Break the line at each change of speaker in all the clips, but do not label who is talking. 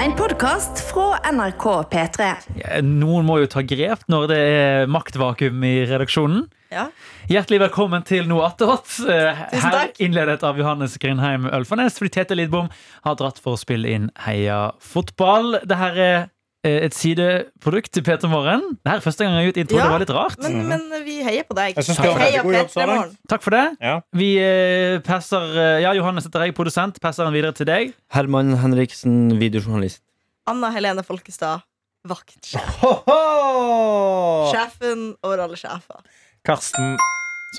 En podkast fra NRK P3.
Ja, Noen må jo ta grep når det er maktvakuum i redaksjonen.
Ja.
Hjertelig velkommen til Noe attåt. Eh,
Tusen
Her
takk.
innledet av Johannes Grindheim Ølfarnes, fordi Tete Lidbom har dratt for å spille inn Heia fotball. Dette er eh, et sideprodukt til Peter Morgen. Dette er første gang jeg har gjort intro.
Ja,
Det var litt rart.
Men, men vi heier på deg.
Mhm. Jeg synes du har
Heia
veldig god jobb
P3
så langt.
Morgen.
Takk for det.
Ja.
Vi eh, passer eh, Ja, Johannes heter jeg, produsent. Passer han videre til deg.
Herman Henriksen, videojournalist.
Anna Helene Folkestad, vaktsjef.
Ho-ho!
Sjefen over alle sjefer.
Karsten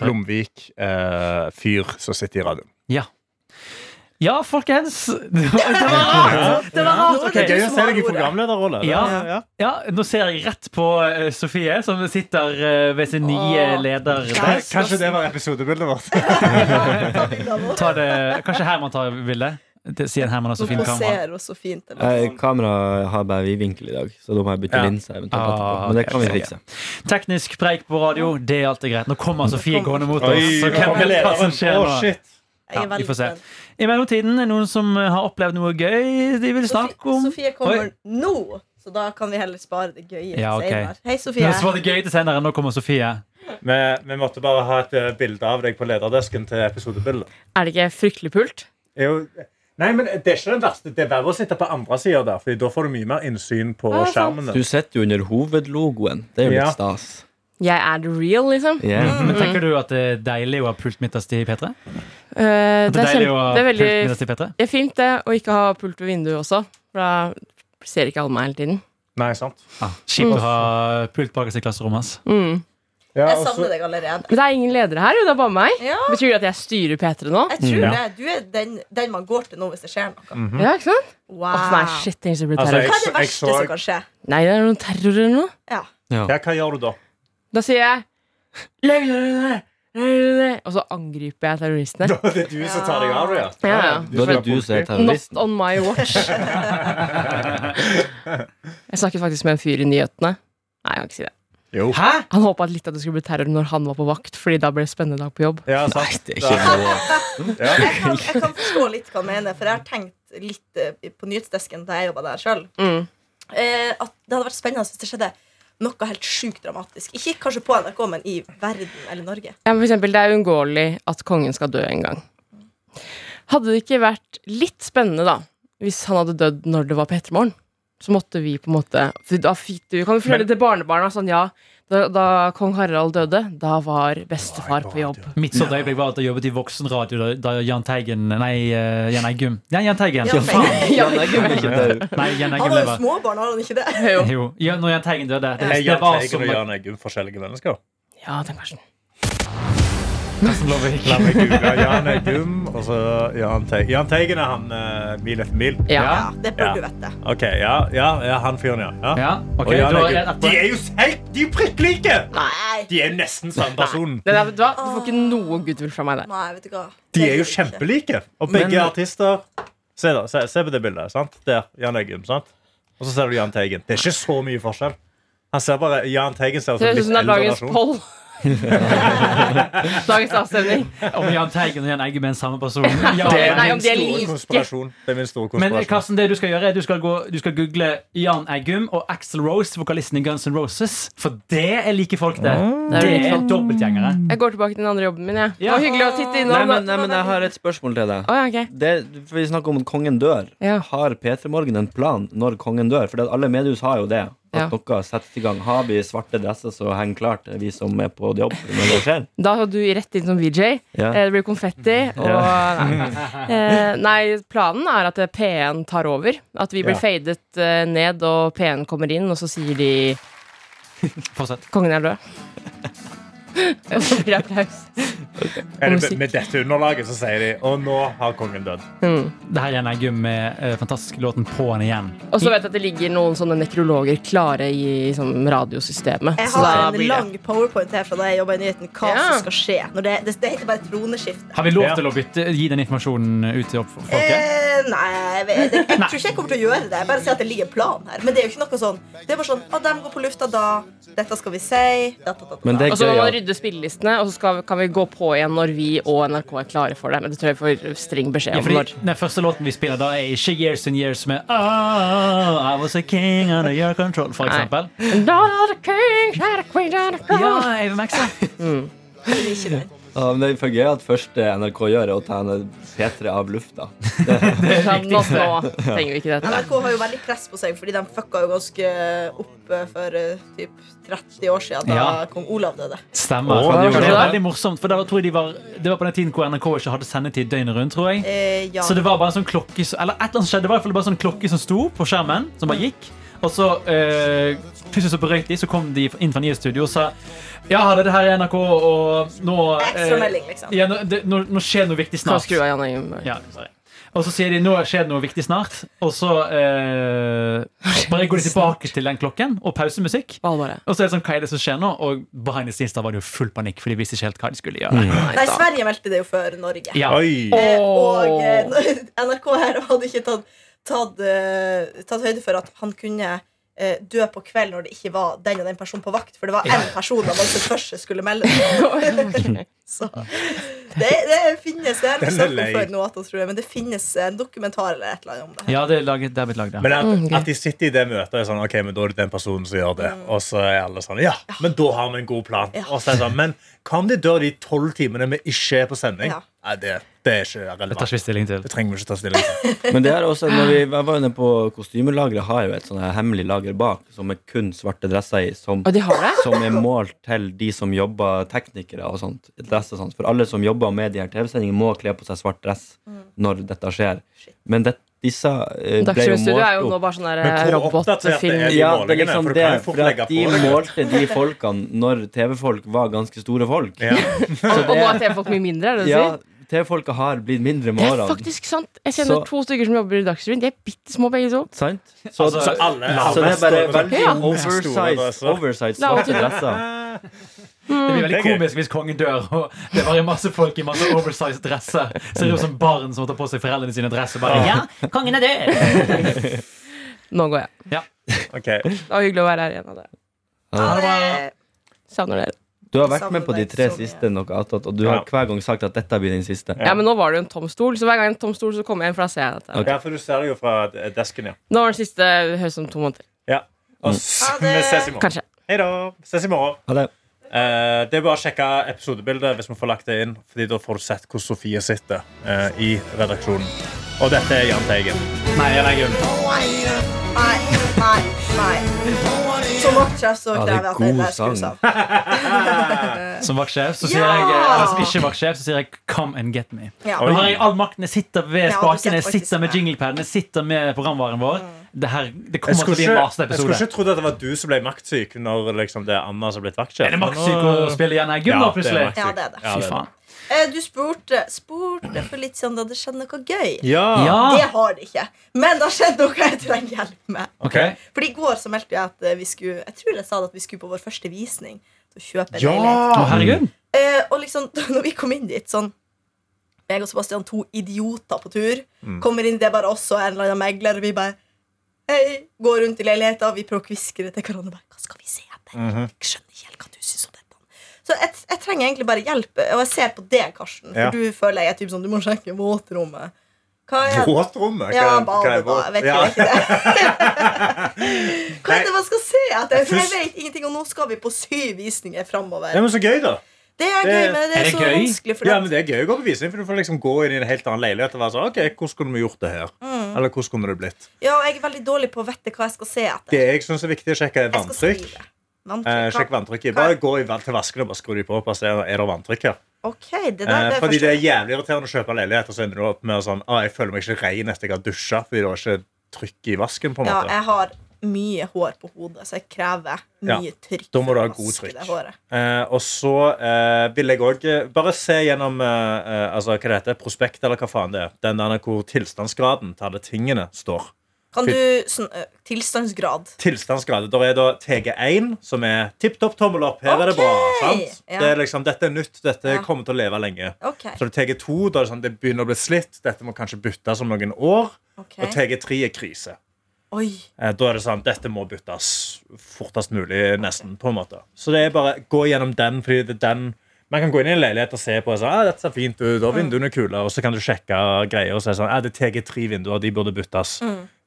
Blomvik, eh, fyr som sitter i radioen.
Ja, folkens! Det var det var rart! Det var rart.
Nå er
ok.
det du som har ordet.
programlederrolle.
Ja.
ja.
Ja, nå ser jeg rett på eh, Sofie, som sitter eh, ved sin nye
Åh.
leder.
Ja.
Kanskje det var episodebildet vårt.
Ta bilder av oss.
Ta det, kanskje Herman tar bildet? Det- Siden Herman har så
Nå
fin kamera.
poserer hun så fint. eller?
Jeg, kamera har bare vid vinkel i dag, så da må jeg bytte
Ja.
linse. eventuelt
Ah,
etterpå. Men det
ok,
kan vi
ok.
fikse.
Teknisk preik på radio, det er alltid greit. Nå kommer Sofie gående mot oss.
Oi,
Så hvem vet hva som skjer
Å,
nå?
shit.
Jeg
Ja,
er
vi
veldig
får se.
spent.
I mellomtiden, er det noen som har opplevd noe gøy de vil snakke
Sofie,
om?
Sofie
Oi.
kommer nå, så da kan vi heller spare det gøye. til
Ja, ok.
senere. Hei,
Nå
Sofie.
var det gøy til senere. Nå kommer Sofie.
Vi, vi måtte bare ha et eh, bilde av deg på lederdesken til episodebildet.
Er det ikke fryktelig pult?
Jo, Nei, men Det er ikke den verste. Det er verre å sitte på andre sida der, Fordi da får du mye mer innsyn på
Ja, sant.
skjermen.
Du sitter jo under hovedlogoen. Det er jo
Ja. Mm.
litt stas.
Jeg er the real, liksom.
Mm.
Yeah.
Men Tenker du at det er deilig å ha pult midterst i P3?
Eh,
At
det,
det
er
er deilig å
kjempe,
ha pult midterst i P3?
det er veldig det er fint det å ikke ha pult ved vinduet også, for da ser ikke alle meg hele tiden.
Nei, sant?
Ah, Kjipt å ha pult bakerst i klasserommet. ass.
Mm.
Ja,
Jeg
altså- og så-
savner deg allerede.
Men det er ingen ledere her, jo. Det er bare meg.
Ja,
Betyr det at jeg styrer P3 nå?
jeg tror
Ja.
det. Du er den, den man går til nå hvis det skjer noe.
Ja, ikke sant?
Wow.
Åh, nei, shit, tenk hvis det blir
Altså,
Hva er
Jeg
terror.
det
så- jeg
verste
så-
som kan skje?
Nei, det er noe terror eller noe.
Ja.
ja, hva gjør du da?
Da sier jeg løgnere! løgnere», Og så angriper jeg terroristene.
Da er det du som tar deg av det.
Ja, ja.
Du
Da er det du som er
politi.
terrorist.
Not on my watch. Jeg snakket faktisk med en fyr i nyhetene. Nei, jeg kan ikke si det.
Jo.
Hæ?
Han håpa litt at det skulle bli terror når han var på vakt, fordi da ble det spennende dag på jobb.
Ja, sant.
Nei, det er ikke noe
Jeg kan, jeg kan forstå litt hva han mener, for jeg har tenkt litt eh, på nyhetsdesken da jeg jobba der sjøl.
Mm.
Eh, at det hadde vært spennende hvis det skjedde noe helt sjukt dramatisk. Ikke kanskje på NRK, men i verden eller Norge.
Ja, men for eksempel, det er uunngåelig at kongen skal dø en gang. Hadde det ikke vært litt spennende, da, hvis han hadde dødd når det var på ettermorgen, så måtte vi på en måte for Da fikk du Kan du fortelle til barnebarna sånn, ja, da, da kong Harald døde, da var bestefar på jobb.
Mitt sånt øyeblikk var at jeg jobbet i voksenradio da, da Jahn Teigen Nei, eh, Jan Eggum. Ja, Jahn Teigen.
Jahn
Faen.
Ja,
Jan Eggum er ikke død.
Nei, Jahn
Han
Eggum
var jo
lever.
småbarn, har han ikke det?
Jo.
Jo, ja, når Jahn Teigen døde. Det,
Jeg
det
Jahn
var
Teigen
som
og Jahn Eggum forskjellige mennesker.
Ja, den Karsten.
Karsten Blomvik.
La meg google Jan Eggum og så Jahn Teigen. Jahn Teigen er han eh, mil etter mil.
Ja.
Ja.
Ja, det bør
Ja.
du vite.
Ok, ja, ja, ja han fyren, ja. ja.
Ja, ok,
Og Jan
da er
Eggum.
det et
De
poeng.
er jo helt De er jo prikk like!
Nei,
De er jo nesten samme person.
Det der, vet du, hva? du får ikke noe goodwill fra meg der.
nei, vet du hva.
De er jo
Det ikke.
kjempelike. Og begge
Men-
er artister. Se, da, se, se på det bildet. sant? Der. Jan Eggum. sant? Og så ser du Jahn Teigen. Det er ikke så mye forskjell. Han ser bare, Jahn Teigen ser ut som en
Det høres ut
litt
som det er
eldre
dagens
versjon.
poll. dagens avstemning.
Om Jahn Teigen og Jahn Eggum er den samme person. Ja,
Det er-
men-
Nei, om de er
Store
like.
konspirasjon. Det er min store
men
konspirasjon.
Karsten, det du skal gjøre er at du skal, gå, du skal google Jan Eggum og Axl Rose, vokalisten i Guns N' Roses. For det er like folk, det.
Mm.
Det er
Det
like
er
folk.
dobbeltgjengere.
Jeg går tilbake til den andre jobben min. Jeg. Det
Ja.
var hyggelig å titte
Nei,
innom.
men, nei, men jeg har et spørsmål til deg.
Å, ja, ok.
Det, for vi snakker om at kongen dør.
Ja.
Har P3 Morgen en plan når kongen dør? For det at alle mediehus har jo det. At
Ja.
noe settes i gang. Har vi svarte dresser som henger klart, vi som er på jobb når det skjer?
Da har du rett inn som VJ.
Ja.
Eh, Det blir konfetti. Og, nei. Eh, nei, planen er at eh, P1 tar over. At vi
Ja.
blir fadet eh, ned, og P1 kommer inn, og så sier de
Fortsett.
Kongen er død. Og så blir det applaus.
Er det,
musikk.
med dette underlaget så sier de Og nå har kongen dødd.
Det her er Jahn Eggum med eh, fantastisk låten På'n igjen.
Og så vet jeg at det ligger noen sånne nekrologer klare i sånn, radiosystemet.
Jeg
Så
har
da
en
blir
lang
det-
powerpoint her fra da jeg jobba i nyheten. Hva
Ja.
som skal skje. Når det, det, det heter bare troneskifte.
Har vi lov
Ja.
til å bytte, gi den informasjonen ut til opp- folket?
Eh, Eh, Nei, jeg, vet, jeg, jeg tror ikke jeg kommer til å gjøre det. Jeg bare sier at det ligger en plan her. Men det er jo ikke noe sånn. Det er bare sånn at de går på lufta da. Dette skal vi si. Da, da, da, da.
Men det
Og
er
så må
gøy
man
at
rydde spillelistene, og så skal, kan vi gå på igjen når vi og NRK er klare for det. Men det tror jeg vi får streng beskjed
Ja,
om.
fordi
Når.
den første låten vi spiller, da er ikke Years and Years med oh, I was a king under your control, for eksempel.
Dollar king, shadow queen, dollar queen.
Ja, Ave Maxa.
Det er ikke det.
Ja, men det er for gøy at første NRK gjør, er å ta en P3 av lufta.
Sånn, Nå, nå trenger vi ikke dette.
NRK har jo veldig press på seg, fordi de fucka jo ganske opp eh, for eh, typ 30 år siden, da
Ja.
kong Olav døde.
Stemmer.
Å, det
det,
gjorde
var
det.
veldig morsomt, for da tror jeg de var, det var på den tiden hvor NRK ikke hadde sendetid døgnet rundt, tror jeg.
Eh, ja.
Så det var bare en sånn klokke som- Eller et eller annet skjedde, det var i hvert fall bare en sånn klokke som sto på skjermen, som bare gikk. Og så eh, plutselig så brøyt de, så kom de inn fra nye studio og sa Ja, hallo, det her er NRK, og nå eh,
Ekstra melding, liksom.
Ja, nå, det, nå, nå skjer det noe viktig
Kan
snart.
skru av Jan Øyum.
Ja, sorry. Og så sier de nå skjer det noe viktig snart, og så eh, bare går de tilbake til den klokken og pausemusikk.
Hva var det?
Og så er det sånn, hva er det som skjer nå? Og behind the scenes da var det jo full panikk, for de visste ikke helt hva de skulle gjøre.
Mm.
Nei, Sverige meldte det jo før Norge.
Ja.
Oi!
Eh, og
Åh.
eh, NRK her hadde ikke tatt, tatt, eh, tatt høyde for at han kunne eh, dø på kveld når det ikke var den og den personen på vakt. For det var én person da man som først skulle melde seg. Så det, det finnes Det har jeg
Den er
snakket
lei.
om før nå, at jeg tror det, men det finnes en dokumentar eller et eller annet om det. her.
Ja, det er, laget, det er blitt lagd, ja.
Men at,
Mm, greit.
at de sitter i det møtet og er sånn Ok, men da er det den personen som gjør det. Og så er alle sånn Ja, men da har vi en god plan.
Ja.
Og så er det sånn, Men hva om de dør de tolv timene vi ikke er på sending?
Ja.
Nei, det, det er ikke
Det tar
relevant.
ikke vi stilling til.
Det trenger vi ikke ta stilling til.
Men det er også, når vi jeg var inne på kostymelageret, har jo et sånn her hemmelig lager bak som er kun svarte dresser i, som,
Og de har det?
som er målt til de som jobber teknikere og sånt. Dresser og sånt. For alle som jobber med de her TV-sendingene, må kle på seg svart dress
Mm.
når dette skjer.
Shit.
Men det, disse eh, ble jo
Dagsrevyen Studio er jo
målt
nå
opp.
bare sånn der
Men hvor oppdatert det er
robotfilm.
de
Ja, det er
målingene?
liksom
for du
det,
kan jo fort
for at
legge
de
på deg.
målte de folkene når TV-folk var ganske store folk.
Ja.
Og og nå er TV-folk mye mindre, er det du
Ja,
sier?
TV-folka har blitt mindre med
Det er
årene.
faktisk sant. Jeg kjenner
Så-
to stykker som jobber i Dagsrevyen. De er bitte små, begge to.
Sant? Så,
Altså,
så,
Alle, alle
så det er bare
står- sånn
veldig
Ja.
Store
oversized,
dresser.
oversized svarte dresser.
Det blir
Det
veldig
er gøy.
komisk hvis kongen dør, og det var masse folk i masse oversized dresser. Ser ut som barn som tar på seg foreldrene sine dresser. Bare, ja, kongen er død!
Nå går jeg.
Ok.
Det var hyggelig å være her igjen. Ada.
Ja, det,
Savner dere.
Du har vært med på de
Samarbeid
tre
som, Sånn, ja.
siste noe attåt, og du har
Ja.
hver gang sagt at dette blir den siste.
Ja, men nå var det jo en tom stol, så hver gang en tom stol, så kommer jeg inn, for da ser jeg dette.
Ok.
Ja, for du ser det jo fra desken, ja.
Nå var det siste høres om to måneder.
ja. Og s-
Ha det.
vi ses i morgen.
Kanskje.
Hei da. Ses i morgen.
Ha det.
Eh, det er bare å sjekke episodebildet hvis vi får lagt det inn, Fordi da får du sett hvor Sofie sitter eh, i redaksjonen. Og dette er Jahn Teigen. Nei, Jan Eggum.
nei, nei, nei. Som vaktsjef så
Ja, det
krever jeg
er
at det
god
der skrus
sang.
av.
Som vaktsjef, så sier
Ja!
jeg eller som ikke vaktsjef, så sier jeg 'come and get me'.
Ja.
Nå har jeg all makten. Jeg sitter ved
Ja, du
spakene, jeg
sitter faktisk
sitter med
der.
jinglepaden, jeg sitter med programvaren vår. Det, her, det
Mm.
kommer
Jeg
til å
skulle
bli en
ikke, jeg skulle
masterepisode.
ikke trodd at det var du som ble maktsyk når liksom, det er Anna som har blitt vaktsjef.
Er det maktsyk å spille igjen her, Gunnar, plutselig?
Ja, det er det.
Fy faen.
Eh, Du spurte, spurte for litt siden om det hadde skjedd noe gøy.
Ja.
Ja,
Det har det ikke. Men det har skjedd noe jeg trenger hjelp med.
ok
Fordi I går så meldte jeg at eh, vi skulle Jeg tror jeg sa det at vi skulle på vår første visning. Så kjøpe en
Ja!
leilighet.
Å, herregud.
Eh, og liksom, når vi kom inn dit sånn Jeg og Sebastian, to idioter på tur,
Mm.
kommer inn, det er bare oss og en eller annen megler, og vi bare Hei, går rundt i leiligheten, vi prøver å kviskre til hverandre. bare, Hva skal vi se etter?
Mhm.
Jeg skjønner ikke helt hva du syns om dette. Så jeg, jeg trenger egentlig bare hjelp, og jeg ser på deg, Karsten. For
Ja.
du føler jeg er typ sånn Du må sjekke våtrommet. Hva er det?
Våtrommet?
Ja,
Hva- hva
badet, da.
er våt?
Jeg vet
Ja.
jo ikke det. Hva er det man skal se etter? For jeg
Først-
vet ingenting, og nå skal vi på syv visninger
Ja,
framover.
men så gøy, da.
Det er gøy,
det-
men det
Er
er
det
så
gøy?
vanskelig. For
Ja,
at-
men Det er gøy å gå på visning, for du får liksom gå inn i en helt annen leilighet og være sånn OK, hvordan kunne vi gjort det her?
Mm.
Eller hvordan kunne det blitt?
ja, og jeg er veldig dårlig på å vite hva jeg skal se etter.
Det jeg syns er viktig å sjekke, er
Jeg skal skrive.
vanntrykk. Eh,
Vanntrykk,
sjekk
ja.
vanntrykket. Bare gå i, vann- til vasken og bare skru de på. Bare se, er det vanntrykk her?
Ok, det der
Eh,
det er
fordi
første
det er jævlig irriterende å kjøpe en leilighet, og så ender du opp med sånn ah, Jeg føler meg ikke ren etter jeg har dusja, fordi det var ikke trykk i vasken. på en
Ja,
måte
jeg har mye hår på hodet, så jeg krever
Ja,
mye trykk.
da må du ha
for å
god
vaske
trykk.
det håret.
eh, Og så eh, vil jeg òg bare se gjennom eh, eh, altså, hva det heter, prospekt, eller hva faen det er. Den der hvor tilstandsgraden til alle tingene står.
Kan du sånn, eh, Tilstandsgrad.
Tilstandsgrad. Der er da TG1, som er tipp topp tommel opp. Her er det bra.
Ok.
sant?
Ja.
Det er liksom, Dette er nytt. Dette
Ja.
kommer til å leve lenge.
Ok.
Så det er TG2, da er det sånn, det begynner å bli slitt. Dette må kanskje byttes om noen år.
ok.
Og TG3 er krise.
Oi.
Eh, Da er det sånn, dette må byttes fortest mulig, nesten, på en måte. Så det er bare gå gjennom den, fordi det er den man kan gå inn i en leilighet og se på og si, ah, dette ser fint ut, og vinduene er kule, og så kan du sjekke greier og si sånn, ah, det er TG3 vinduer, de burde byttes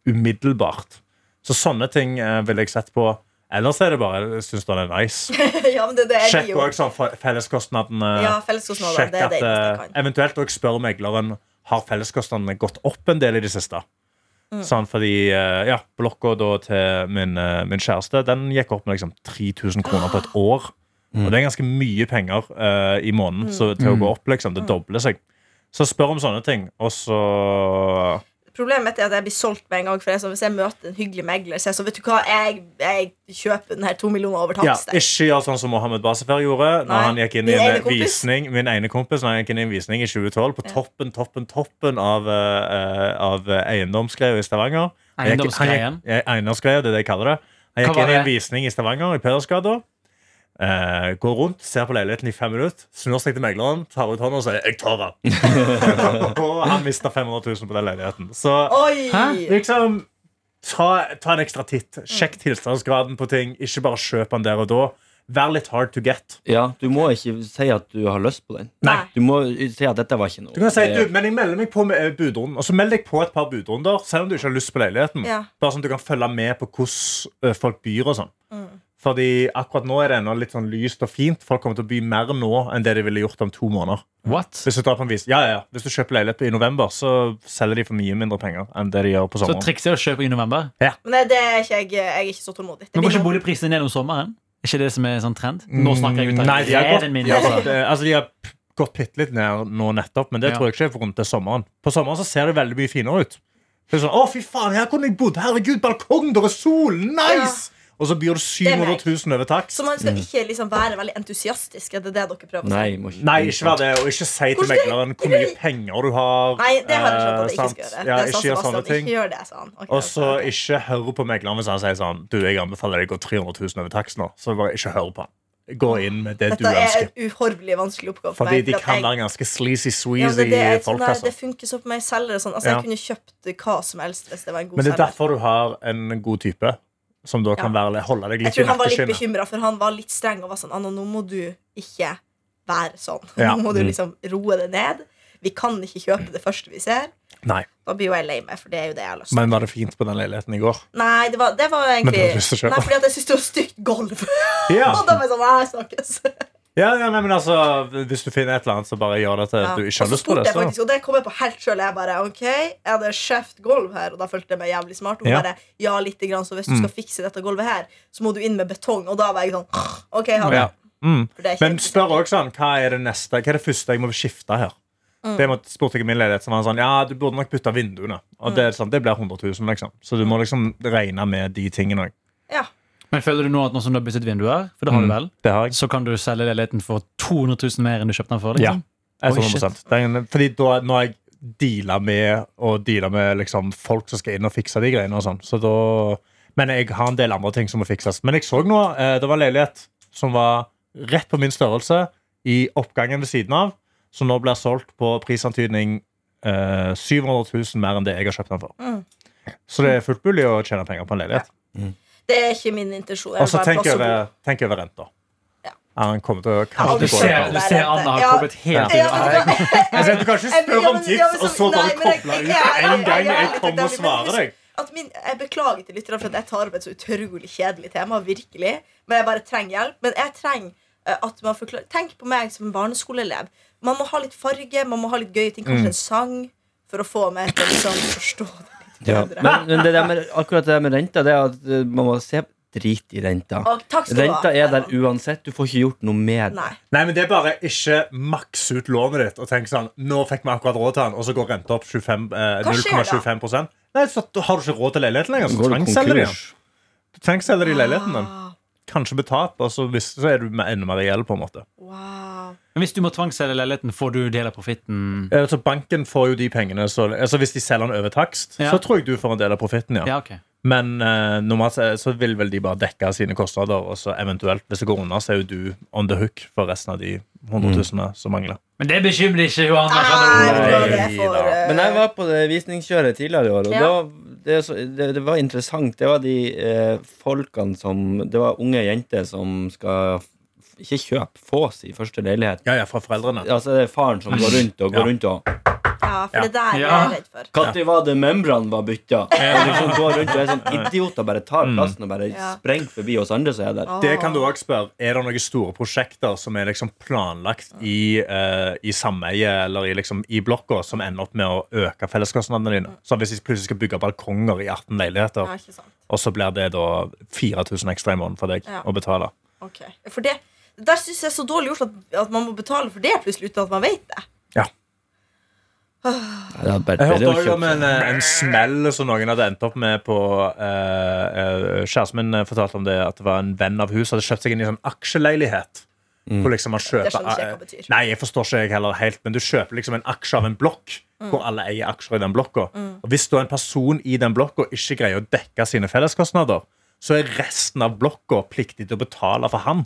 umiddelbart. Så sånne ting eh, vil jeg sette på. Ellers er det bare, jeg synes den er nice.
ja, men det, det er det
Sjekk
jo.
også sånn fe- felleskostnadene.
Ja, felleskostnader,
Sjekk
det er det
at,
eneste jeg
eh,
kan.
Eventuelt også spør megleren, har felleskostnadene gått opp en del i det siste?
Mm.
Sånn, fordi eh, ja, blokka da til min, eh, min kjæreste Den gikk opp med liksom 3000 kroner på et
Ah.
år. Og det er ganske mye penger eh, i måneden så,
Mm.
til å gå opp. liksom Det dobler seg. Så spør om sånne ting, og så
Problemet mitt er at jeg blir solgt med en gang. For jeg, er sånn, hvis jeg møter en hyggelig megler, så er jeg sånn Vet du hva, jeg, jeg kjøper den her to millioner over
ja,
takst. jeg.
Ikke gjør sånn som Mohammed Basefer gjorde. Når
Nei.
han gikk inn i
Min
en
ene kompis.
visning Min ene kompis når han gikk inn i en visning i 2012, på toppen, toppen, toppen av, uh, av eh, eiendomsgreier i Stavanger. Han gikk- han gikk-
Eiendomsgreien?
Ja, Eiendomsgreier, det er det jeg kaller det. Han
Hva
gikk
var
inn i en
det?
visning i Stavanger, i Pedersgata. Eh, går rundt, ser på leiligheten i fem minutter, snur seg til megleren, tar ut hånda og sier 'jeg tar den'. og han mista 500 000 på den leiligheten. Så
Oi!
Hæ?
liksom ta, ta en ekstra titt. Sjekk tilstandsgraden på ting. Ikke bare kjøp den der og da. Vær litt hard to get.
Ja, du må ikke si at du har lyst på den.
Nei.
Du må si at dette var ikke noe.
Du kan si,
Det-
du, men jeg melder meg på med eh, budrunden Og så meld deg på et par budrunder, selv om du ikke har lyst på leiligheten.
Ja.
Bare sånn at du kan følge med på hvordan eh, folk byr og sånn. Fordi akkurat nå er det ennå litt sånn lyst og fint. Folk kommer til å by mer nå enn det de ville gjort om to måneder.
What?
Hvis du, drar på en vis, ja, ja, ja. Hvis du kjøper leilighet i november, så selger de for mye mindre penger enn det de gjør
Så
på sommeren.
trikset er å kjøpe i november?
Men det, det er ikke jeg, jeg er ikke så tålmodig. Det
Men
blir
går ikke
noe-
boligprisene ned om sommeren? Er ikke det som er en sånn trend? Nå snakker jeg ut av
Nei, de har gått,
ræven min,
de har
altså.
gått, eh, altså, de har p- gått bitte litt ned nå nettopp, men det
Ja.
tror jeg ikke er for rundt til sommeren. På sommeren så ser det veldig mye finere ut. Det er sånn, å fy faen, her kunne jeg bodd! Herregud, balkong, der er sol! Nice! Og så byr du
er meg.
700 000 over takst.
Så man skal ikke liksom være veldig entusiastisk? Er det det dere prøver å si?
Nei, må ikke.
Nei, ikke vær det, og ikke si til
Hvordan skal-
megleren hvor mye penger du har.
Nei, det har jeg skjønt at jeg ikke
eh, sant?
skal gjøre.
Ja,
det sa
ikke gjør
Sebastian,
sånne ting.
Ikke gjør det, sa han. Ok,
Og så
ok.
ikke hør på megleren hvis han sier sånn Du, jeg anbefaler deg å gå 300 000 over takst nå. Så bare ikke hør på han. Gå inn med det du
Dette er
ønsker.
en uhorvelig vanskelig oppgave for
Fordi
meg.
de
for at
kan
jeg-
være ganske sleazy,
ja,
sweezy
det, det, er sånn
folk.
der,
altså.
det funker så på meg selger. og Sånn. Altså,
Ja.
Jeg kunne kjøpt hva som helst hvis det var en god
Men det er
selger.
derfor du har en god type. Som da kan
Ja.
være, holde deg
Jeg
litt i
tror han var litt
nakkeskinnet.
bekymra, for han var litt streng og var sånn Anna, nå må du ikke være sånn.
Ja.
Nå må du liksom roe det ned. Vi kan ikke kjøpe det første vi ser.
Nei,
Da blir jo jeg lei meg, for det er jo det jeg har lyst til.
Men var det fint på den leiligheten i går?
Nei, det var, det var
Men
egentlig
det har du lyst til å kjøpe.
Nei, fordi at jeg syns det var stygt gulv.
Ja,
og da var jeg sånn, nei, snakkes.
ja, ja nei, men altså Hvis du finner et eller annet, så bare gjør det til
Ja.
du ikke
Og
har
så
lyst på det.
spurte jeg
Så.
faktisk, og det kom jeg på helt sjøl. Jeg bare OK, er det skjevt gulv her? Og da følte jeg meg jævlig smart. Og hun
Ja. Mm.
bare ja, lite grann, så hvis du skal fikse dette gulvet her, så må du inn med betong. Og da var jeg sånn OK, ha det.
Ja. Mm.
For det er ikke
Men spør også sånn Hva er det neste? Hva er det første jeg må skifte her?
Mm.
Det måtte- spurte jeg i min leilighet, som var sånn Ja, du burde nok bytte vinduene. Og
Mm.
det, er sånn, det blir 100 000, liksom. Så du må liksom regne med de tingene òg.
Ja.
Men føler du nå at nå som du har byttet vinduer, for det har du vel,
Mm. Det har jeg.
så kan du selge leiligheten for 200 000 mer enn du kjøpte den for?
Ja.
Liksom?
Jeg tror
Oi, shit.
100%. Det er en- Fordi da, når jeg dealer med Og dealer med liksom, folk som skal inn og fikse de greiene og sånn, så da Men jeg har en del andre ting som må fikses. Men jeg så nå, eh, det var en leilighet som var rett på min størrelse i oppgangen ved siden av, som nå blir solgt på prisantydning eh, 700 000 mer enn det jeg har kjøpt den for.
Mm.
Så det er fullt mulig å tjene penger på en leilighet.
Det er ikke min intensjon.
Og så
ha en
tenk
plass å bo.
over, tenk over renta.
Ja.
Er Han kommer til å
Ja,
Du
du
ser, du ser Anna har kommet helt ut
Ja,
av
men det var-
Altså, Jeg sier, Du kan ikke spørre om
Ja,
tips,
men- ja, men
og så
nei,
bare
men jeg-
koble ut
jeg- jeg-
en
jeg-
gang jeg kommer og
jeg- jeg-
svarer deg.
At min, jeg beklager til lytterne for at jeg tar opp et så utrolig kjedelig tema. virkelig Men jeg bare trenger hjelp. Men jeg trenger eh, at man forklarer Tenk på meg som en barneskoleelev. Man må ha litt farge, man må ha litt gøye ting. Kanskje en sang for å få meg til å liksom forstå det litt
Ja.
bedre.
Men, men det der med, akkurat det der med renta, det er at eh, man må se drit i renta.
Og takk skal du ha.
Renta er der uansett. Du får ikke gjort noe med det.
Nei.
Nei, men det er bare ikke maks ut lånet ditt og tenk sånn Nå fikk vi akkurat råd til den, og så går renta opp 25, eh,
Hva skjer da?
0,25 prosent. Nei, så da har du ikke råd til leiligheten lenger. Så
Går du
tvangsselger de
konkurs?
den. Du tvangsselger de leiligheten din.
Ah,
kanskje betalt, og så, hvis, så er du med enda mer i gjeld, på en måte.
Wow.
Men hvis du må tvangsselge leiligheten, får du del av profitten?
Eh, Så banken får jo de pengene så, altså Hvis de selger den over takst,
Ja.
så tror jeg du får en del av profitten. Ja.
Ja, ok.
Men eh, normalt så- så vil vel de bare dekke sine kostnader, og så eventuelt, hvis det går unna, så er jo du on the hook for resten av de 100 000 som mangler.
Men det bekymrer ikke Johanna.
Nei, vet du hva, det er
Nei
for
da.
eh,
Men jeg var på det visningskjøret tidligere i år, og
Ja.
da, det, er så- det, det var interessant. Det var de eh, folkene som Det var unge jenter som skal f- ikke kjøpe, få sin første leilighet.
Ja, ja, fra foreldrene.
Altså det er faren som går rundt og går
Ja.
rundt og
Ja, for det der er
Ja.
jeg redd for.
Når var det membranen var bytta? Og liksom går rundt og er sånn idioter bare tar
Mm.
plassen og bare
Ja.
sprenger forbi oss andre som er der.
Det kan du også spørre. Er det noen store prosjekter som er liksom planlagt i, uh, i sameie eller i, liksom, i blokka, som ender opp med å øke felleskostnadene dine? Så hvis de plutselig skal bygge balkonger i 18 leiligheter,
Ja, ikke sant.
og så blir det da 4000 ekstra i måneden for deg
Ja.
å betale.
Ok, for det Der synes jeg er så dårlig gjort at, at man må betale for det plutselig uten at man vet det.
Ja,
Jeg
bare, det
hørte
er jo
også
kjøpt.
om en, eh, en smell som noen hadde endt opp med på eh, eh, Kjæresten min eh, fortalte om det at det var en venn av huset hadde kjøpt seg inn i en sånn aksjeleilighet. Hvor liksom man kjøper,
Det skjønner ikke jeg hva betyr.
Nei, jeg forstår ikke jeg heller helt, men du kjøper liksom en aksje av en blokk.
Mm.
Hvor alle eier aksjer i den blokka. Og Hvis da en person i den blokka ikke greier å dekke sine felleskostnader, så er resten av blokka pliktig til å betale for han.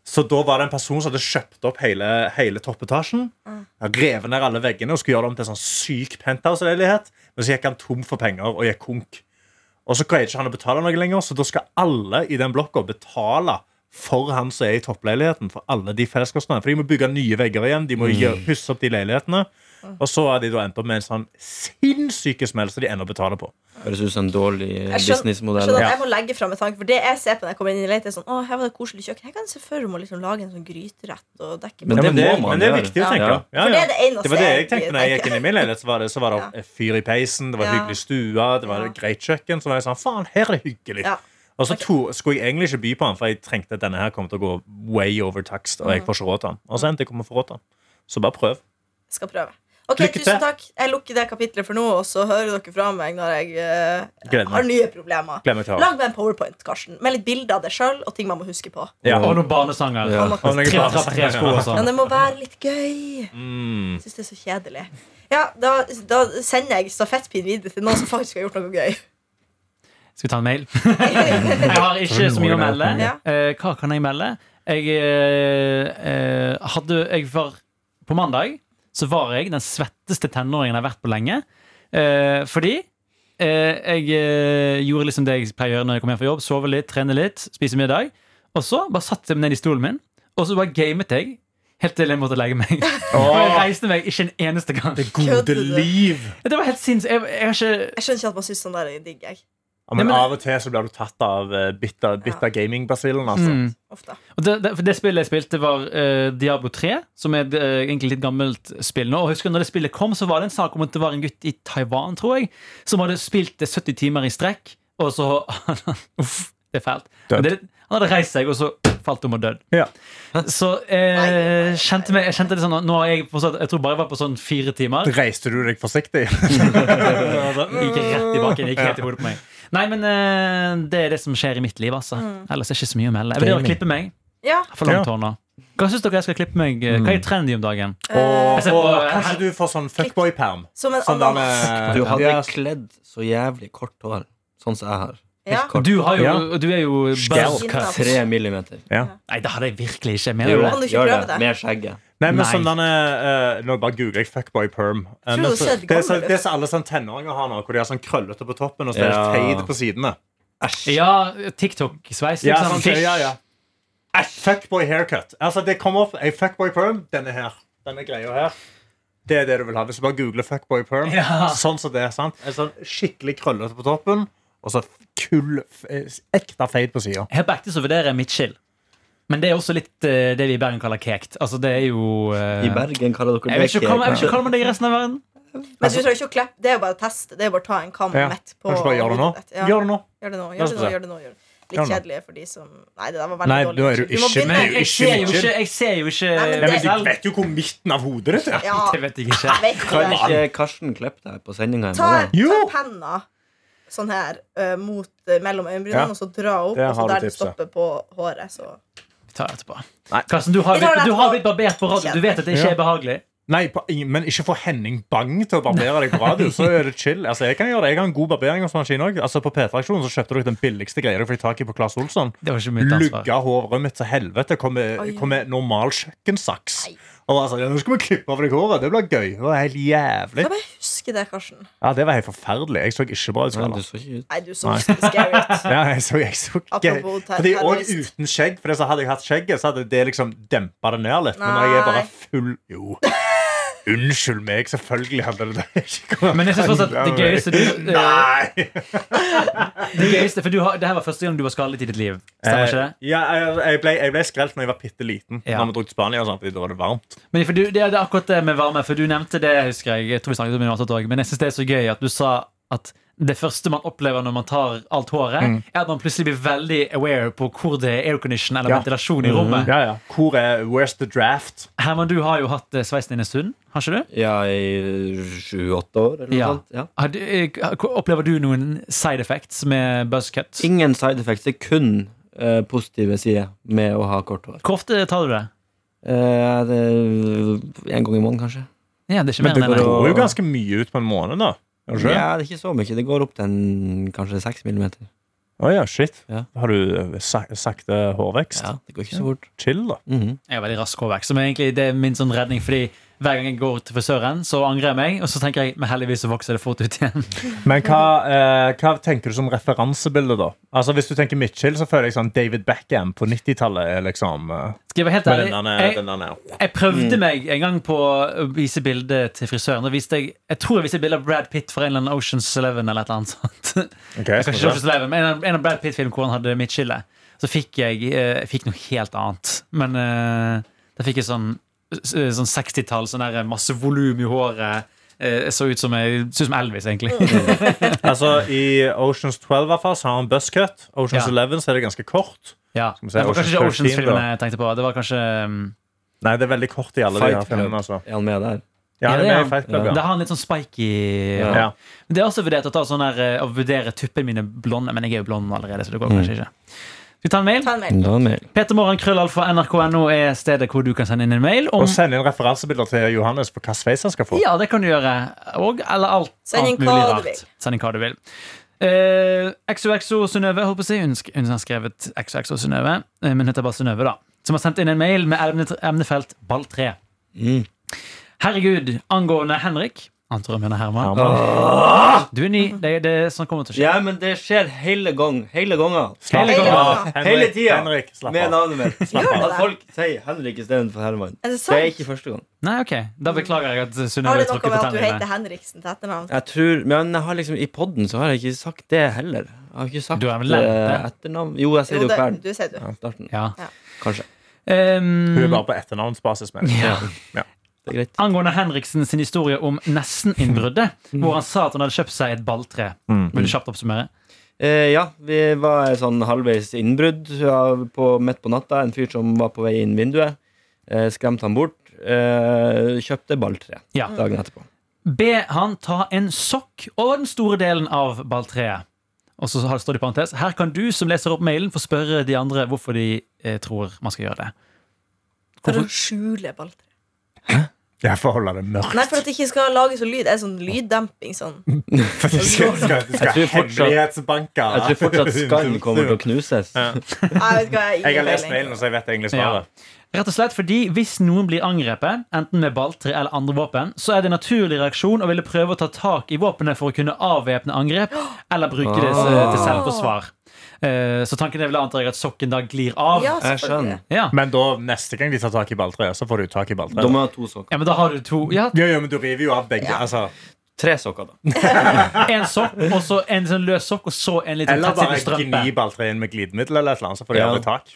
Så da var det en person som hadde kjøpt opp hele, hele toppetasjen.
Mm.
Revet ned alle veggene og skulle gjøre det om til en sånn syk penthouse-leilighet. Men så gikk han tom for penger og gikk konk. Og så greide ikke han å betale noe lenger, så da skal alle i den blokka betale for han som er i toppleiligheten, for alle de felleskostnadene. For de må bygge nye vegger igjen, de må
Mm.
gjøre, pusse opp de leilighetene. Og så har de da endt opp med en sånn sinnssyke smell som de ennå betaler på.
Høres ut som en dårlig
Jeg skjønner, jeg,
businessmodell.
skjønner
Ja.
at jeg må legge frem et tanke, for det jeg ser på når jeg kommer inn i leiligheten, er sånn Å, her var det koselig kjøkken. Jeg kan se for meg å liksom lage en sånn gryterett og dekke
Men
på.
det
men
må man
men det er
gjøre.
viktig å
Ja.
tenke.
Ja.
Ja,
For det er
ja.
det eneste
var det jeg
jeg
tenkte når jeg
tenker.
gikk inn i min leilighet. Så var det, så var det fyr i peisen, det var
Ja.
hyggelig stue, det var
Ja.
greit kjøkken. Så var jeg sånn, faen, her er det hyggelig.
Ja.
Og så to, skulle jeg egentlig ikke by på den, for jeg tenkte at denne her kom til å gå way over takst. Og jeg får ikke råd til den. Og så endte jeg opp med å få råd til den. Så bare prøv.
Jeg skal prøve. Ok,
Lykke til.
tusen takk. Jeg lukker det kapitlet for nå, og så hører dere fra meg når jeg eh,
Gleder meg.
har nye problemer.
Gleder meg til å ha.
Lag meg en powerpoint, Karsten, med litt bilder av det sjøl og ting man må huske på.
Ja.
Og noen barnesanger.
Ja.
Og noen
Tre, tre,
barn.
tre sko og
Men
sånn.
det må være litt gøy.
Mm.
Jeg syns det er så kjedelig. Ja, da, da sender jeg stafettpinnen videre til noen som faktisk har gjort noe gøy.
Skal vi ta en mail? Jeg har ikke så mye å melde.
Ja.
Eh, hva kan jeg melde? Jeg eh, eh, hadde Jeg var På mandag så var jeg den svetteste tenåringen jeg har vært på lenge. Eh, fordi eh, jeg eh, gjorde liksom det jeg pleier å gjøre når jeg kommer hjem fra jobb. Sove litt, trene litt, spise middag. Og så bare satte jeg meg ned i stolen min, og så bare gamet jeg. Helt til jeg måtte legge meg. Og jeg reiste meg ikke en eneste gang. Det
Kødder
Gode
du?
liv.
var helt sinnssykt. Jeg, jeg har ikke
Jeg skjønner ikke at man syns sånn der er digg. jeg
Ja, men
Nei, men-
av og til så blir du tatt av eh, bitter, bitter gaming-basillen, altså.
mm.
Ofte.
Og det, det, for det spillet jeg spilte, var eh, Diablo 3, som er et, eh, egentlig litt gammelt spill nå. Og jeg husker når det spillet kom, så var det en sak om at det var en gutt i Taiwan, tror jeg, som hadde spilt det 70 timer i strekk, og så Uff, det er fælt.
Død.
Men Det, han hadde reist seg, og så falt om og død.
Ja.
Så eh, kjente meg, jeg kjente det sånn at Nå er jeg, på sånn- jeg tror bare jeg var på sånn fire timer.
Reiste du deg forsiktig?
Gikk rett i bakken. Gikk helt i hodet på meg. Nei, men eh, det er det som skjer i mitt liv, altså. Ellers er det ikke så mye å melde. Jeg vurderer å klippe meg.
Ja,
For langt hår nå. Hva syns dere jeg skal klippe meg? Eh, Hva
Mm.
er trendy om dagen? Jeg
Og,
ser på-
og kanskje du får sånn fuckboy-perm?
som en
Sånn
annen
der,
Du hadde
Ja,
kledd så jævlig kort hår, sånn som jeg har.
Ja.
Helt kort.
Du, har jo,
Ja.
du er jo
Skjell.
buzz cut.
Tre millimeter.
Nei, det hadde jeg virkelig ikke. Jeg mener
Gjør
jo
det.
det.
Kan du ikke
Gjør
prøve det?
det. Med skjegget.
Nei, men
Nei.
sånn denne, eh, Nå bare googler jeg 'fuckboy perm'. Eh,
Tror
men
du
så-
ser
det er så-
gammel ut?
det er så alle sånn tenåringer har nå, hvor de har sånn krøllete på toppen og så er det
Ja.
fade på sidene.
Æsj.
Ja, TikTok-sveis.
Ja,
liksom.
sånn, ja, ja. Æsj, Fuckboy haircut. Altså, det kommer opp ei fuckboy perm. Denne her. Denne greia her. Det er det du vil ha. Hvis du bare googler fuckboy perm,
Ja.
sånn som det er, sant? En sånn skikkelig krøllete på toppen, og så kull f- eh, ekte fade på sida.
Helt på ekte så vurderer jeg midtskill. Men det er også litt eh, det vi i Bergen kaller kekt. Altså, det er jo eh,
I Bergen kaller dere
Jeg vet ikke
det
hva jeg vet
kjekt.
ikke hva man det i resten av verden.
Men du trenger ikke å kleppe. Det er jo bare å teste. Det er jo bare å ta en kam
Ja.
midt på
Kanskje bare gjør det nå.
hodet ditt. Ja.
Gjør det nå.
Gjør det nå.
La
Gjør
oss
det
se.
nå, gjør det nå, gjør det nå. Litt
Gjør det nå.
kjedelig for de som Nei, det der var veldig
Nei,
dårlig.
da er du
må
ikke
begynne-
med.
Men jeg ser jo ikke, jeg ser jo ikke
Nei, men
Nei, men
selv.
Du vet jo hvor midten av hodet ditt er.
Ja,
Det vet jeg ikke.
jeg vet ikke.
Kan ikke Karsten klippe deg på sendinga i
Ta,
morgen?
ta
Jo.
penna. sånn her eh, mot, eh, mellom øyenbrynene,
Ja.
og så dra opp,
Det
og
har
så
du
der det
tipset.
stopper på håret. Så.
Vi tar det etterpå. Karsten, du har,
Vi tar det
blitt, du har blitt
etterpå.
barbert på radio. Du vet at det ikke
Ja.
er behagelig.
Nei, på ingen- men ikke få Henning Bang til å barbere deg på radio. Så er det chill. Altså, jeg kan gjøre det, jeg har en god barberingsmaskin òg. Altså, på P3-aksjonen så kjøpte dere den billigste greia dere fikk tak i på Claes Olsson.
Det var ikke mitt ansvar.
Lugga håret mitt til helvete. Kom med,
Oi.
kom med normal kjøkkensaks. Og bare sånn, ja, nå skal vi klippe av deg håret. Det blir gøy. Det var helt jævlig.
Kan jeg huske det, Karsten?
Ja, Det var helt forferdelig. Jeg så ikke bra ut.
Nei,
som
du
alle.
så ikke ut.
Nei, du så scary ut.
Ja, jeg så, jeg så ikke.
Apropos ter-
Fordi Og
terrorist.
uten skjegg. For så hadde jeg hatt skjegget, så hadde det liksom dempa det ned litt. Men når jeg
Nei.
er bare full Jo. Unnskyld meg, selvfølgelig hadde det det. Ikke kommet
Men jeg synes fortsatt
an-
det gøyeste du-
Nei!
Det gøyeste, for du har, det her var første gang du var skadet i ditt liv. Stemmer ikke det?
Eh, Ja, jeg, jeg, ble, jeg ble skrelt når jeg var bitte liten.
Ja.
Når vi dro til Spania, og sånt, fordi da var det varmt.
Men for du, det er det er akkurat det med varme, for du nevnte det, husker jeg. Jeg tror vi snakket om det i natt også, men jeg synes det er så gøy at du sa at det første man opplever når man tar alt håret, er at man plutselig blir veldig aware på hvor det er aircondition eller
Ja.
ventilasjon i rommet.
Mm. Hvor er Where's the draft?
Herman, du har jo hatt eh, sveisen din en stund, har ikke du?
Ja, i sju-åtte år, eller noe
Ja.
sånt. Ja.
Har du eh, opplever du noen side effects med buzzcut?
Ingen side effects. Det er kun eh, positive sider med å ha kort hår.
Hvor ofte tar du det?
Eh, det er en gang i måneden, kanskje.
Ja, det er ikke mer
Men det
enn det.
går
går jo ganske mye ut på en måned, da. Er det ikke det?
Ja, det er ikke så mye. Det går opp til en, kanskje seks millimeter.
Å ja, shit.
Ja.
Har du eh, sak sakte hårvekst?
Ja, det går ikke så fort.
Chill, da.
Mhm.
Jeg har veldig rask hårvekst, som er egentlig det er min sånn redning. Fordi hver gang jeg går til frisøren, så angrer jeg meg, og så tenker jeg men heldigvis så vokser det fort ut igjen.
Men hva, eh, hva tenker du som referansebilde, da? Altså, Hvis du tenker midtchill, så føler jeg sånn David Beckham på 90-tallet er liksom eh,
Skal jeg være helt
med
ærlig?
den der-
Jeg,
den Mm. der-
jeg prøvde meg en gang på å vise bilde til frisøren. Da viste jeg jeg tror jeg viste et bilde av Brad Pitt fra en eller annen Oceans Eleven eller et eller annet sånt. Kanskje
Ok, skal vi
ikke
se.
Ocean's Eleven, men en av- En av Brad Pitt-film hvor han hadde midtskille. Så fikk jeg, eh, jeg fikk noe helt annet. Men eh, da fikk jeg sånn, s- sånn 60-tall, sånn der masse volum i håret. Eh, Jeg så ut som, jeg, så ut som Elvis, egentlig.
Altså, I Oceans 12 i hvert fall, så har han buzzcut. Oceans
Ja.
11 så er det ganske kort.
Ja.
vi se,
det var kanskje ikke
Ocean's 13
Oceans-filmen
da.
jeg tenkte på. Det var kanskje um,
Nei, det er veldig kort i alle de her
Fight Club.
filmene. altså.
Er han med der?
Ja, det
det
er
er
med i Fight Club,
Det
ja.
har en litt sånn spiky
Ja.
ja.
Men Det er også vurdert å ta sånn her eh, Å vurdere tuppene mine blonde, men jeg er jo blond allerede, så det
Mm.
går kanskje ikke. Skal vi ta en mail?
Ta en mail.
Da er han med.
Petermorgenkrøllalfa.nrk.no er stedet hvor du kan sende inn en mail. Om,
Og send inn referansebilder til Johannes på hva sveis han skal få.
ja, det kan du gjøre. Og eller alt
Send inn
annet mulig
hva du
rart.
vil.
Send inn hva du vil. Eh, XOXO Synnøve, holdt på å si. Hun, sk- hun har skrevet XOXO Synnøve, eh, men hun heter bare Synnøve, da. Som har sendt inn en mail med emne- emnefelt ball 3.
Mm.
Herregud, angående Henrik Han tror jeg mener Herman. Du er ny.
Mm-hmm.
Det, det, er sånn kommer det til å skje.
Ja, men det skjer hele gang. Hele ganger.
Slapp
Hele
av.
tiden.
Henrik,
Hele tiden.
Henrik, slapp
Med
av.
navnet mitt.
Gjør det
At
det?
folk sier Henrik istedenfor
Er
Herman.
det
Det er
sant?
ikke første gang.
Nei, ok. Da beklager jeg at
Har
Synnøve
det noe
tråkket
med
på
at du heter
tennene.
Henriksen til etternavn?
Jeg tror, men jeg har liksom i podden så har jeg ikke sagt det heller. Jeg har ikke sagt
Du har vel lært
eh,
det?
etternavn. Jo, jeg sier
Jo,
det jo
det,
hver
du sier du.
ja, starten.
Ja.
Kanskje.
Ehm,
Hun er bare på etternavnsbasis. Men.
Ja.
Det er greit.
angående Henriksen sin historie om neseninnbruddet,
Mm.
hvor han sa at han hadde kjøpt seg et balltre. Vil du kjapt oppsummere?
Eh, ja, vi var sånn halvveis innbrudd av- på, midt på natta. En fyr som var på vei inn vinduet. Eh, skremte han bort. Eh, kjøpte balltre
Ja.
dagen etterpå.
Be han ta en sokk over den store delen av balltreet. Og så har- står det i parentes Her kan du som leser opp mailen, få spørre de andre hvorfor de eh, tror man skal gjøre det.
For å skjule balltre.
Jeg får holde det mørkt.
Nei, for at det ikke skal lage så lyd. Det er sånn lyddemping sånn.
For du skal, du skal, du skal
Jeg tror fortsatt-
hemmelighetsbanke.
Jeg tror fortsatt skallen kommer til å knuses.
Jeg vet ikke hva jeg
Jeg har lest mailen, så jeg vet egentlig
Ja.
svaret.
Rett og slett fordi Hvis noen blir angrepet, enten med balltre eller andre våpen, så er det en naturlig reaksjon å ville prøve å ta tak i våpenet for å kunne avvæpne angrep, eller bruke det s-
Ah.
til selvforsvar. Eh, Så tanken er vel antar jeg at sokken da glir av.
Ja,
Jeg
selvfølgelig.
skjønner.
Ja.
Men da, neste gang de tar tak i balltreet, så får du tak i
Da
balltreet.
må jeg ha to sokker.
Ja, men da har du to Ja,
Ja, ja, men du river jo av begge. Altså.
Tre sokker, da.
en sokk, og så en sånn løs sokk, og så en liten
Eller bare
tettsittende strømpe.
gni balltreet inn med glidemiddel, eller et eller annet, så får de
Ja.
aldri tak.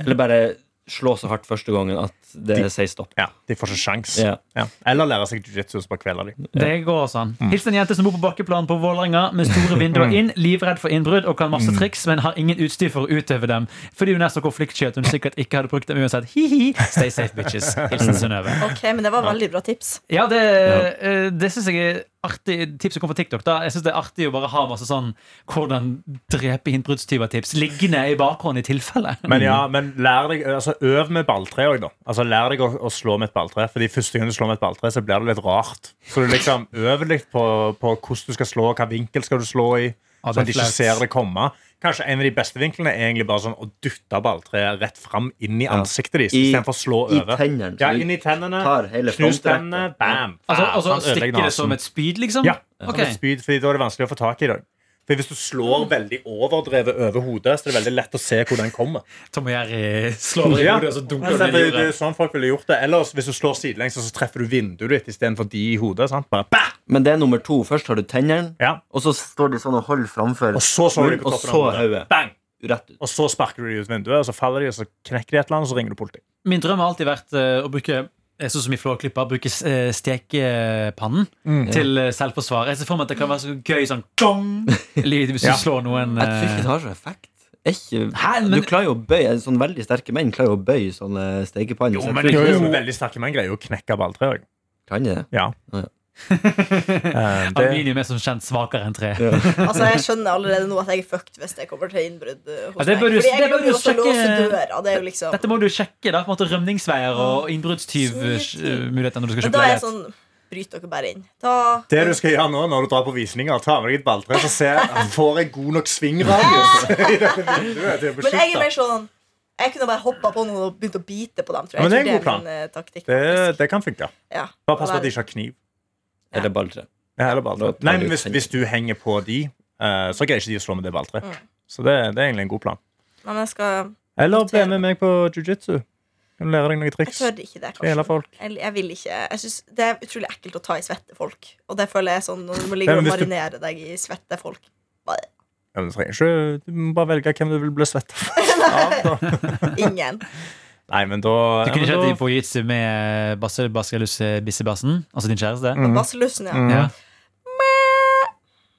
Eller bare slå så hardt første gangen at det sier stopp.
Ja, De får ikke sjans.
Ja.
Ja. Eller lære seg jiu-jitsu, så bare kveler de.
Det går sånn.
Mm.
Hils en jente som bor på bakkeplan på Vålerenga med store vinduer inn, livredd for innbrudd og kan masse
Mm.
triks, men har ingen utstyr for å utøve dem. Fordi hun er så konfliktsky at hun sikkert ikke hadde brukt dem uansett. Hi-hi. Stay safe, bitches. Hilsen Synnøve.
Ok, men det var veldig bra tips.
Ja, det, eh, det syns jeg er artig tips som kom fra TikTok. da Jeg synes det er artig å bare ha masse sånn hvordan drepe innbruddstyver-tips liggende i bakhånd i tilfelle.
Men ja,
Mm.
men lær deg, altså øv med balltre òg, da. Altså Lær deg å, å slå med et balltre. Fordi første gang du slår med et balltre, så blir det litt rart. Så du liksom øver litt på, på hvordan du skal slå, hvilken vinkel skal du slå i.
Ja, det er
sånn at de ikke
flaut.
ser det komme. Kanskje en av de beste vinklene er egentlig bare sånn å dytte balltreet rett fram inn i ansiktet deres.
I-
Istedenfor å slå
i
over.
tennene, så
Ja,
du
inn i tennene.
tar hele
Knus
frontrekket.
tennene. Bam!
Altså,
Bam!
altså
Han ødelegger
Stikke det
nasen.
som et spyd, liksom?
Ja,
Ok.
som et spyd, fordi da er det vanskelig å få tak i det. Fordi Hvis du slår veldig overdrevet over hodet, så er det veldig lett å se hvor den kommer.
Tom og Jerry slår over i
Ja.
hodet, og så dunker
Altså,
han
det,
i
det er
jorda.
sånn folk ville gjort det. Ellers, hvis du slår sidelengs, så treffer du vinduet ditt istedenfor de i hodet. Sant? Bare, bah!
Men det er nummer to. Først har du tennene,
Ja.
og så står de sånn og holder framfor.
Og så slår du
munnen,
på
og
toppen
så
av hodet.
hodet.
Bang!
Rett ut.
Og så sparker du de ut vinduet, og så faller de, og så knekker de et eller annet, og så ringer du politiet.
Min drøm har alltid vært eh, å bruke eh, Sånn som i flåklipper, bruke eh, stekepannen til eh, selvforsvar. Jeg ser for meg at det kan være så gøy sånn gong! Liv, Hvis du
Ja.
slår noen
Jeg tror ikke
eh,
det har så effekt. Er Ikke,
Hæ, men-
du klarer jo å bøye Sånn veldig sterke menn klarer jo å bøye sånne stekepanner.
Jo,
så jeg
men
tror
jo,
ikke det
jo.
er så-
veldig sterke menn greier jo å knekke balltre òg.
Kan de det?
Ja.
Ja.
Eh, det-
Aluminium er som kjent svakere enn tre.
Altså, Jeg skjønner allerede nå at jeg er fucked hvis det kommer til innbrudd eh, hos
Altså,
Ja, det
meg.
bør du-
Fordi jeg
det bør du
kan jo også
sjekke-
låse døra. Det er jo liksom
Dette må du sjekke. da, på en måte Rømningsveier og innbruddstyvmuligheter når du skal
Men
kjøpe
da er jeg
leilighet.
sånn Bryt dere bare inn. Ta
Det du skal gjøre nå når du drar på visninger, ta med deg et balltre og se om får jeg god nok svingradius. i dette vinduet til å
Men jeg er
beskytte.
mer sånn Jeg kunne bare hoppa på noen og begynt å bite på dem. tror jeg.
Ja, men
Jeg
det er en
tror det er
god
min eh, taktikk.
Det,
faktisk.
det kan funke.
Ja.
Bare pass på at de ikke har kniv.
Eller balltre.
Ja, eller balltre.
Da tar
Nei,
du
men hvis,
ut
hvis du henger på de, eh, så greier ikke de å slå med det balltreet.
Mm.
Så det, det er egentlig en god plan.
Nei, men jeg skal
Eller bli med meg på jiu-jitsu. Kan du lære deg noen
Jeg
triks.
tør ikke det,
Kvele
kanskje.
folk.
Jeg, jeg vil ikke Jeg synes Det er utrolig ekkelt å ta i svette folk. Og det føler jeg er sånn når du må
Nei,
ligge
men
og
hvis du-
marinere deg i svette folk. Bare,
Ja, men du, trenger ikke, du må bare velge hvem du vil bli svett av.
Ingen.
Nei, men da,
Du kunne
ja,
kjøpt
men
deg på jitsu med eh, Basse Baskelus Bissebassen, altså din kjæreste.
Baselussen, ja.
Mm.
Ja.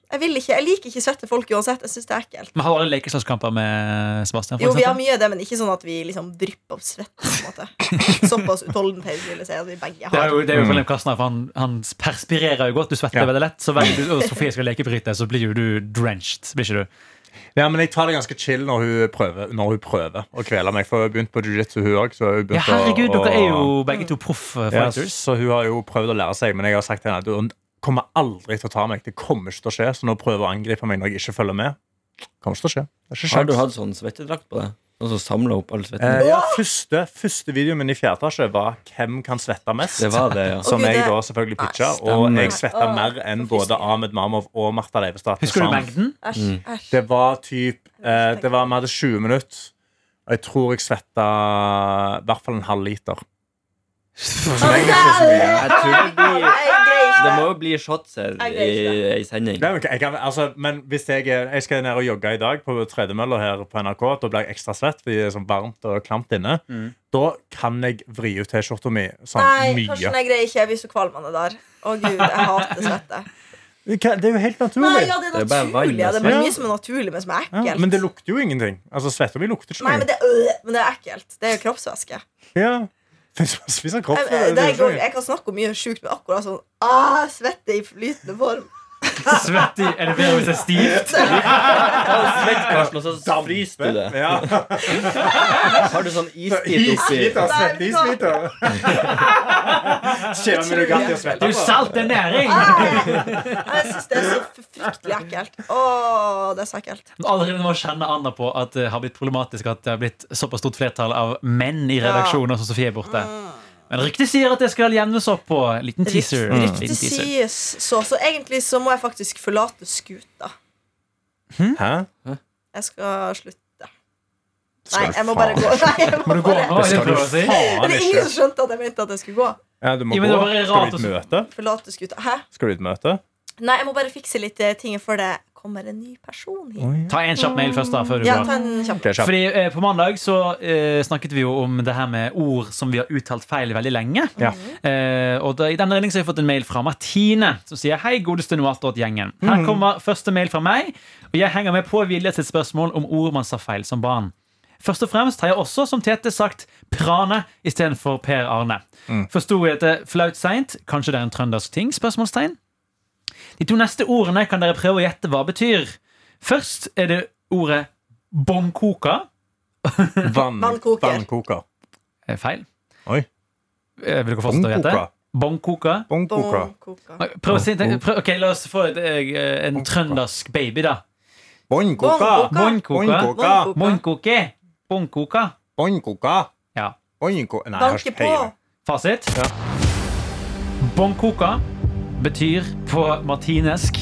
Jeg vil ikke Jeg liker ikke svette folk uansett. Jeg syns det er ekkelt.
Men har du alle lekeslagskamper med Sebastian? For
Jo, vi har
eksempel?
mye av det, men ikke sånn at vi liksom drypper av svette. på en måte Såpass utholdenhet vil jeg si at vi
det
begge
er
har.
jo, det er jo Wilhelm Kastner, for han, han perspirerer jo godt. Du svetter
Mm. Ja.
veldig lett. Så hver gang du og Sofie skal lekebryte, så blir jo du drenched. Blir ikke du?
da- ja, men jeg tar det ganske chill når hun prøver, når hun prøver å kvele meg. For hun har begynt på jiu-jitsu, hun òg.
Ja, herregud, dere er jo begge to proff eh,
Ja,
fighters.
så hun har jo prøvd å lære seg, men jeg har sagt til henne at hun kommer aldri til å ta meg. Det kommer ikke til å skje, så nå prøver hun å angripe meg når jeg ikke følger med. Kommer ikke til å skje. Det er ikke
Har du
sjans.
hatt sånn svettedrakt på deg? Noen som samler opp all svetten?
Eh, ja, første, første videoen min i fjerde etasje var 'Hvem kan svette mest?'
Det var det, ja.
Som
Å, Gud,
jeg
det-
da selvfølgelig pitcha,
Nei,
og
stemmer.
jeg svetta
Åh,
mer enn
for
både
fisk.
Ahmed Mamov og Martha Leivestad. til
Husker du
sammen.
mengden?
Æsj. æsj.
Mm. Det var typ eh, det var, Vi hadde 20 minutter, og jeg tror jeg svetta i hvert fall en halv liter. Så det er egentlig ikke så mye.
Jeg tror det
Nei,
blir
greier ikke.
Det må jo bli shots her
Jeg greier ikke
i ei sending.
Nei, men jeg kan, altså, men hvis jeg, er- jeg skal ned og jogge i dag på tredemølla her på NRK, da blir jeg ekstra svett fordi det er sånn varmt og klamt inne. Da kan jeg vri ut T-skjorta mi sånn
Mm. Nei,
mye.
Karsten, jeg greier ikke. Jeg blir så kvalm av det der. Å gud, jeg hater svette.
Hva- Det er jo helt
Nei,
naturlig.
ja, det
Det
er
er bare vann,
naturlig. Ja, det er
altså.
mye som er naturlig, men som er
Ja,
ekkelt.
men det lukter jo ingenting. Altså, Svetta mi lukter ikke
Nei,
noe.
men det, øh, men det er ekkelt. Det er jo kroppsvæske.
Ja. Hvis man spiser kropp,
Jeg,
det, det,
det er,
gjør ikke noe.
jeg kan snakke om mye sjukt, men akkurat sånn ah, svette i flytende form.
Svett i Er det bedre hvis det er stivt?
Svett, Karsten, og så fryser du det.
Ja.
Har du sånn isbit oppi?
Isbiter, svette,
Nei,
isbiter. Skjer med Nugatti og
Det
svette
er jo salt, det er næring!
Jeg syns det er så fryktelig ekkelt. Å, det er så ekkelt.
Allerede nå kjenner Anna på at det har blitt problematisk at det har blitt såpass stort flertall av menn i redaksjonen, som Sofie er borte.
Mm.
Men ryktet sier at det skal jevnes opp på. Liten teaser.
Riktig
Liten teaser.
sies så. Så egentlig så må jeg faktisk forlate skuta.
Hæ?
Jeg skal slutte.
Skal
Nei,
du
jeg må bare
faen-
gå. Nei, jeg
Må du gå
bare-
nå? er
Det
det
skal du
prøver å si?
Men
faen
det er
ikke.
ingen som skjønte at jeg mente at jeg skulle gå.
Ja, du må
Ja, men
gå.
det var bare
Skal
rart
du i
å-
et møte?
Forlate skuta. Hæ?
Skal du i et møte?
Nei, jeg må bare fikse litt eh, ting før det kommer en ny person hit.
Ta en kjapp mail først, da. Før du
Ja,
går.
ta en kjapp.
Ok, kjapt.
Fordi eh, På mandag så eh, snakket vi jo om det her med ord som vi har uttalt feil veldig lenge.
Ja.
Eh, og da, I den redning så har jeg fått en mail fra Martine, som sier Hei, godeste Noatot-gjengen. Her kommer første mail fra meg, og jeg henger med på Vilje sitt spørsmål om ord man sa feil som barn. Først og fremst har jeg også, som Tete, sagt prane istedenfor Per Arne. Forsto jeg dette flaut seint? Kanskje det er en trøndersk ting? Spørsmålstegn. De to neste ordene kan dere prøve å gjette hva betyr. Først er det ordet bånnkoker.
Vann,
Vannkoker.
Vannkoker.
Eh, Feil.
Oi.
Eh, Vil dere fortsette å gjette? Bånnkoker.
Bongkoker.
Bånnkoker.
Nei, Prøv å si tenk- prøv, Ok, La oss få et, eh, en trøndersk baby, da.
Bongkoker.
Bongkoker.
Bånnkoker.
Bongkoker.
Bånnkoker.
Bånnkoke. Bånnkoker.
Bongkoker.
Ja.
Bongkoker. Nei, jeg har
Banke
ikke
på.
peiling.
Fasit? Bånnkoker betyr på martinesk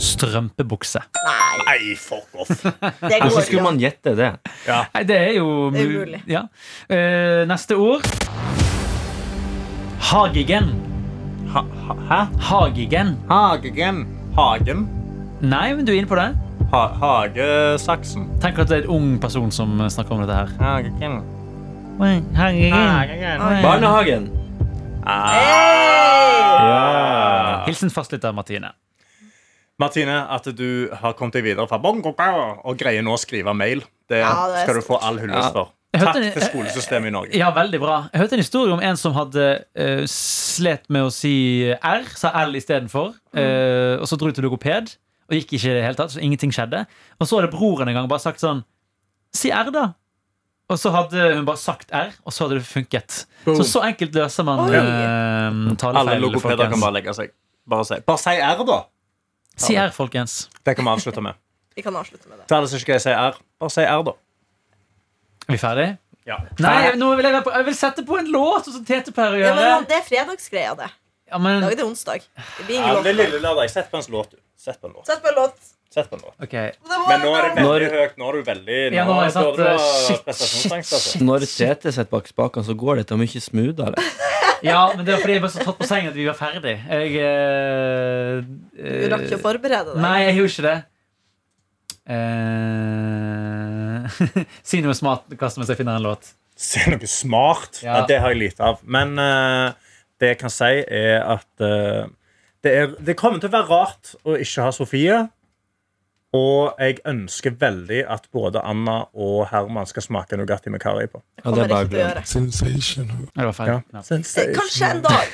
strømpebukse.
Nei,
Nei, fuck off.
det går
Hvordan skulle
ikke.
man gjette det?
Nei, det er jo
Det er
mu-
umulig.
Ja. Eh, neste ord. Hagigen.
Ha, ha, hæ?
Hagigen.
Hagen. Hagen.
Nei, men du er inne på det.
Ha, hagesaksen.
Tenk at det er en ung person som snakker om dette her.
Hagen.
Mm.
Hagigen.
Barnehagen. Ja.
Hilsen fastlytter Martine.
Martine, at du har kommet deg videre fra bongkoker og greier nå å skrive mail. Det,
Ja, det er
skal du
stort.
få all hyllest for.
Jeg hørte
Takk
det-
til skolesystemet i Norge.
Ja, veldig bra. Jeg hørte en historie om en som hadde eh, slet med å si R, sa L istedenfor.
Mm.
Uh, og så dro du til logoped, og gikk ikke i det hele tatt, så ingenting skjedde. Og så hadde broren en gang bare sagt sånn Si R, da. Og så hadde hun bare sagt R, og så hadde det funket.
Boom.
Så så enkelt løser man uh,
Oi.
Alle
talefeil,
logopeder kan
folkens.
bare legge seg. Bare si, bare si R, da.
Si R, folkens.
Det kan vi avslutte med.
Vi kan avslutte med det.
Til alle som ikke greier å si R, bare si R, da.
Er vi ferdig?
Ja.
Nei, nå vil jeg, være på, jeg vil sette på en låt, og så Tete Per
Ja,
gjør
men
det.
det er fredagsgreia, det.
Ja, men,
I dag er det onsdag. Det blir
Ja,
ingen
det er
låt.
lille lørdag. Sett på en låt, du. Sett på en låt.
Sett på en låt.
Sett på en låt.
ok.
Men nå er det veldig
Når-
høyt. Nå er du veldig
Ja, nå har jeg satt,
burde du ha
eh, shit,
prestasjonsangst,
shit,
altså.
shit.
Når Tete sitter bak spakene, så går dette mye smoothere.
Ja, men det var fordi jeg var så tatt på sengen at vi var ferdig. Jeg eh,
Du
eh,
rakk ikke å forberede deg.
Nei, jeg gjorde ikke det. Eh, si noe smart, kast mens jeg finner en låt.
Se noe smart.
Ja.
Ja. det har jeg lite av. Men eh, det jeg kan si, er at eh, det, er, det kommer til å være rart å ikke ha Sofie. Og jeg ønsker veldig at både Anna og Herman skal smake Nugatti med Kari på.
Det
Ja, det er
kommer jeg
bare
ikke til å gjøre.
Sensational.
Nei, Det var feil.
Ja.
knapp.
Se, Kanskje en dag.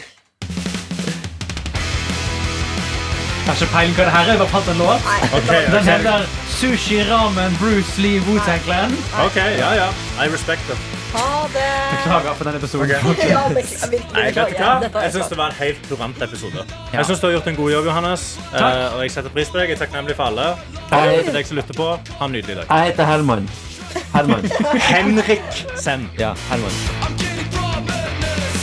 Jeg har ikke peiling hva det her er. Jeg bare fant en låt.
Nei.
Ok,
Den
ok.
heter Sushi Ramen Bruce Lee Wu-Tang Clan.
OK, ja, ja. I respect it.
Ha det.
Beklager for denne episoden.
Ok.
Ja, bekl- virkelig
Nei, vet du hva?
beklager. Dette
Jeg syns
er
det var en helt kurant episode. Jeg synes Du har gjort en god jobb, Johannes. Eh, og jeg setter pris på deg. Jeg er takknemlig for alle. Takk til deg som lytter på. Ha en nydelig dag.
Jeg heter Herman. Herman.
Henrik Send.
Ja, Herman.
I'm getting raw madness.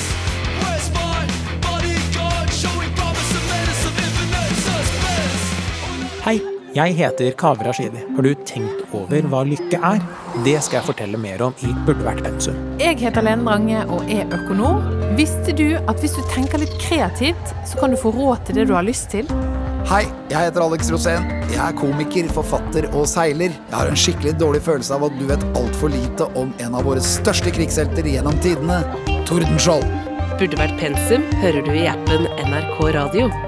Where's my bodyguard? Showing promise of menace of infinite suspense.
Hei, jeg heter Kaveh Rashidi. Har du tenkt over hva lykke er? Det skal jeg fortelle mer om i Burde vært pensum.
Jeg heter Lene Drange og er økonom. Visste du at hvis du tenker litt kreativt, så kan du få råd til det du har lyst til?
Hei, jeg heter Alex Rosén. Jeg er komiker, forfatter og seiler. Jeg har en skikkelig dårlig følelse av at du vet altfor lite om en av våre største krigshelter gjennom tidene, Tordenskjold.
Burde vært pensum hører du i appen NRK Radio.